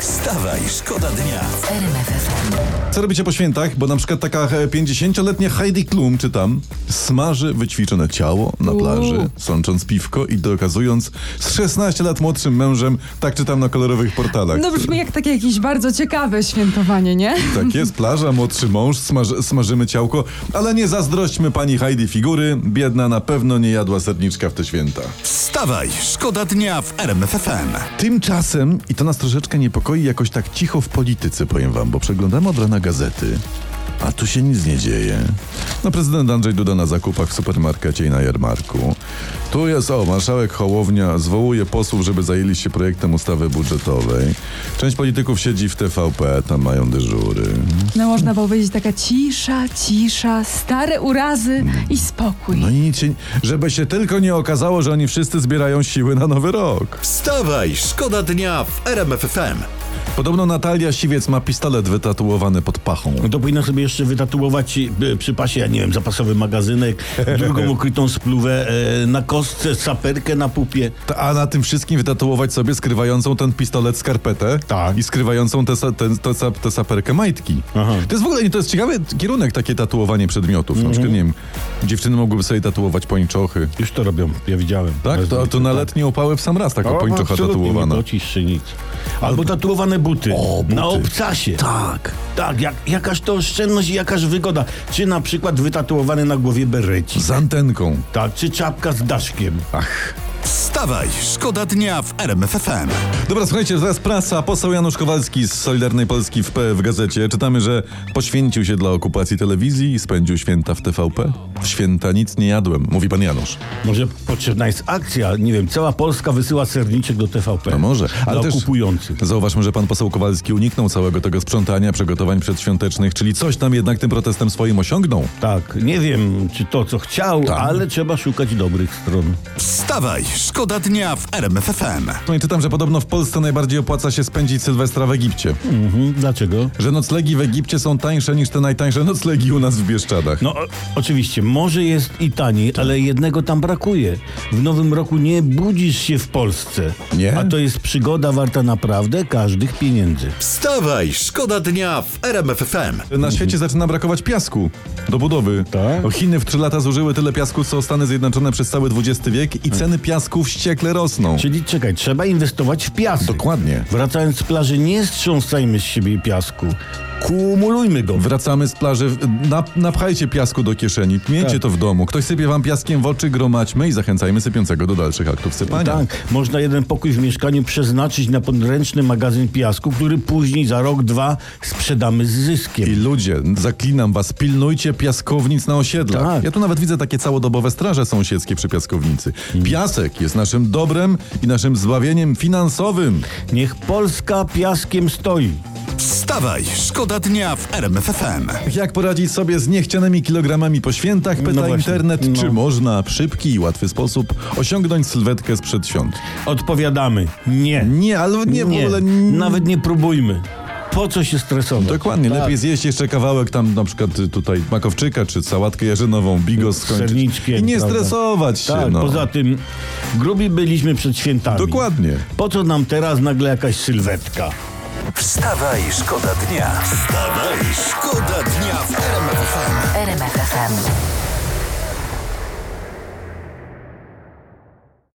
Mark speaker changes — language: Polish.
Speaker 1: Wstawaj, szkoda dnia.
Speaker 2: Co robicie po świętach? Bo na przykład taka e, 50-letnia Heidi Klum, czytam, smaży wyćwiczone ciało na plaży, sącząc piwko i dokazując z 16 lat młodszym mężem, tak czytam na kolorowych portalach.
Speaker 3: No brzmi jak takie jakieś bardzo ciekawe świętowanie, nie?
Speaker 2: Tak jest, plaża, młodszy mąż, smaży, smażymy ciałko, ale nie zazdrośćmy pani Heidi figury, biedna na pewno nie jadła serniczka w te święta.
Speaker 1: Wstawaj, szkoda dnia w RMFFM.
Speaker 2: Tymczasem, i to nas troszeczkę niepokoi, jakoś tak cicho w polityce, powiem wam, bo przeglądamy od rana gazety, a tu się nic nie dzieje. No prezydent Andrzej Duda na zakupach w supermarkecie i na jarmarku. Tu jest, o, marszałek Hołownia zwołuje posłów, żeby zajęli się projektem ustawy budżetowej. Część polityków siedzi w TVP, tam mają dyżury.
Speaker 3: No można było powiedzieć taka cisza, cisza, stare urazy i spokój.
Speaker 2: No i nic się, żeby się tylko nie okazało, że oni wszyscy zbierają siły na nowy rok.
Speaker 1: Wstawaj, szkoda dnia w RMFFM.
Speaker 2: Podobno Natalia Siwiec ma pistolet wytatuowany pod pachą.
Speaker 4: No to powinna sobie jeszcze wytatuować e, przy pasie, ja nie wiem, zapasowy magazynek, drugą ukrytą spluwę e, na kostce, saperkę na pupie.
Speaker 2: Ta- A na tym wszystkim wytatuować sobie skrywającą ten pistolet skarpetę
Speaker 4: Tak.
Speaker 2: i skrywającą tę te, te, te, sa- tę saperkę majtki.
Speaker 4: Aha. Mhm.
Speaker 2: To jest w ogóle to jest ciekawy kierunek, takie tatuowanie przedmiotów. Na przykład, nie wiem, dziewczyny mogłyby sobie tatuować pończochy.
Speaker 4: Już to robią, ja widziałem.
Speaker 2: Tak? To, to na letnie opały w sam raz taka pończocha tatuowana.
Speaker 4: Czy nic. Albo tatuowane buty.
Speaker 2: O, buty.
Speaker 4: Na obcasie. Tak. Tak, jak, jakaż to oszczędność i jakaż wygoda. Czy na przykład wytatuowany na głowie bereci.
Speaker 2: Z antenką.
Speaker 4: Tak, czy czapka z daszkiem.
Speaker 2: Ach.
Speaker 1: Wstawaj, szkoda dnia w RMFFM.
Speaker 2: Dobra, słuchajcie, zaraz prasa. Poseł Janusz Kowalski z Solidarnej Polski w, P- w gazecie. Czytamy, że poświęcił się dla okupacji telewizji i spędził święta w TVP. W święta nic nie jadłem, mówi pan Janusz.
Speaker 4: Może potrzebna jest akcja, nie wiem, cała Polska wysyła serniczek do TVP.
Speaker 2: No może,
Speaker 4: ale
Speaker 2: ale
Speaker 4: dla
Speaker 2: też
Speaker 4: kupujących.
Speaker 2: Zauważmy, że pan poseł Kowalski uniknął całego tego sprzątania, przygotowań przedświątecznych, czyli coś tam jednak tym protestem swoim osiągnął.
Speaker 4: Tak, nie wiem, czy to, co chciał, ale trzeba szukać dobrych stron.
Speaker 1: Wstawaj, szkoda dnia w RMFFM.
Speaker 2: No i czytam, że podobno w Polsce najbardziej opłaca się spędzić Sylwestra w Egipcie.
Speaker 4: Mhm, dlaczego?
Speaker 2: Że noclegi w Egipcie są tańsze niż te najtańsze noclegi u nas w Bieszczadach.
Speaker 4: No, o, oczywiście, może jest i taniej, ale jednego tam brakuje. W nowym roku nie budzisz się w Polsce.
Speaker 2: Nie?
Speaker 4: A to jest przygoda warta naprawdę każdych pieniędzy.
Speaker 1: Wstawaj, szkoda dnia w RMFFM.
Speaker 2: Na świecie zaczyna brakować piasku do budowy.
Speaker 4: Mhm. Tak?
Speaker 2: O, Chiny w 3 lata zużyły tyle piasku, co Stany Zjednoczone przez cały XX wiek i
Speaker 4: Tak.
Speaker 2: ceny piasku wściekle rosną.
Speaker 4: Czyli czekaj, trzeba inwestować w piasek.
Speaker 2: Dokładnie.
Speaker 4: Wracając z plaży, nie strząsajmy z siebie piasku. Kumulujmy go.
Speaker 2: Wracamy z plaży, w- nap, napchajcie piasku do kieszeni, miejcie
Speaker 4: Tak.
Speaker 2: to w domu. Ktoś sypie wam piaskiem w oczy, gromadźmy i zachęcajmy sypiącego do dalszych aktów sypania.
Speaker 4: Tak, można jeden pokój w mieszkaniu przeznaczyć na podręczny magazyn piasku, który później za rok, dwa sprzedamy z zyskiem.
Speaker 2: I ludzie, zaklinam was, pilnujcie piaskownic na osiedlach.
Speaker 4: Tak.
Speaker 2: Ja tu nawet widzę takie całodobowe straże sąsiedzkie przy piaskownicy.
Speaker 4: Mm.
Speaker 2: Piasek jest naszym dobrem i naszym zbawieniem finansowym.
Speaker 4: Niech Polska piaskiem stoi.
Speaker 1: Wstawaj, szkoda dnia w RMFFM.
Speaker 2: Jak poradzić sobie z niechcianymi kilogramami po świętach? Pyta
Speaker 4: właśnie,
Speaker 2: internet,
Speaker 4: no.
Speaker 2: czy można w szybki i łatwy sposób osiągnąć sylwetkę sprzed świąt.
Speaker 4: Odpowiadamy. Nie.
Speaker 2: Nie, ale nie, w ogóle...
Speaker 4: Nawet nie próbujmy. Po co się stresować?
Speaker 2: Dokładnie,
Speaker 4: Tak.
Speaker 2: lepiej zjeść jeszcze kawałek tam na przykład y, tutaj makowczyka, czy sałatkę jarzynową, bigos skończyć.
Speaker 4: serniczkiem,
Speaker 2: I nie
Speaker 4: prawda?
Speaker 2: stresować się,
Speaker 4: Tak,
Speaker 2: no.
Speaker 4: poza tym grubi byliśmy przed świętami.
Speaker 2: Dokładnie.
Speaker 4: Po co nam teraz nagle jakaś sylwetka?
Speaker 1: Wstawaj, szkoda dnia. Wstawaj, szkoda dnia w RMFFM.
Speaker 5: RMFFM.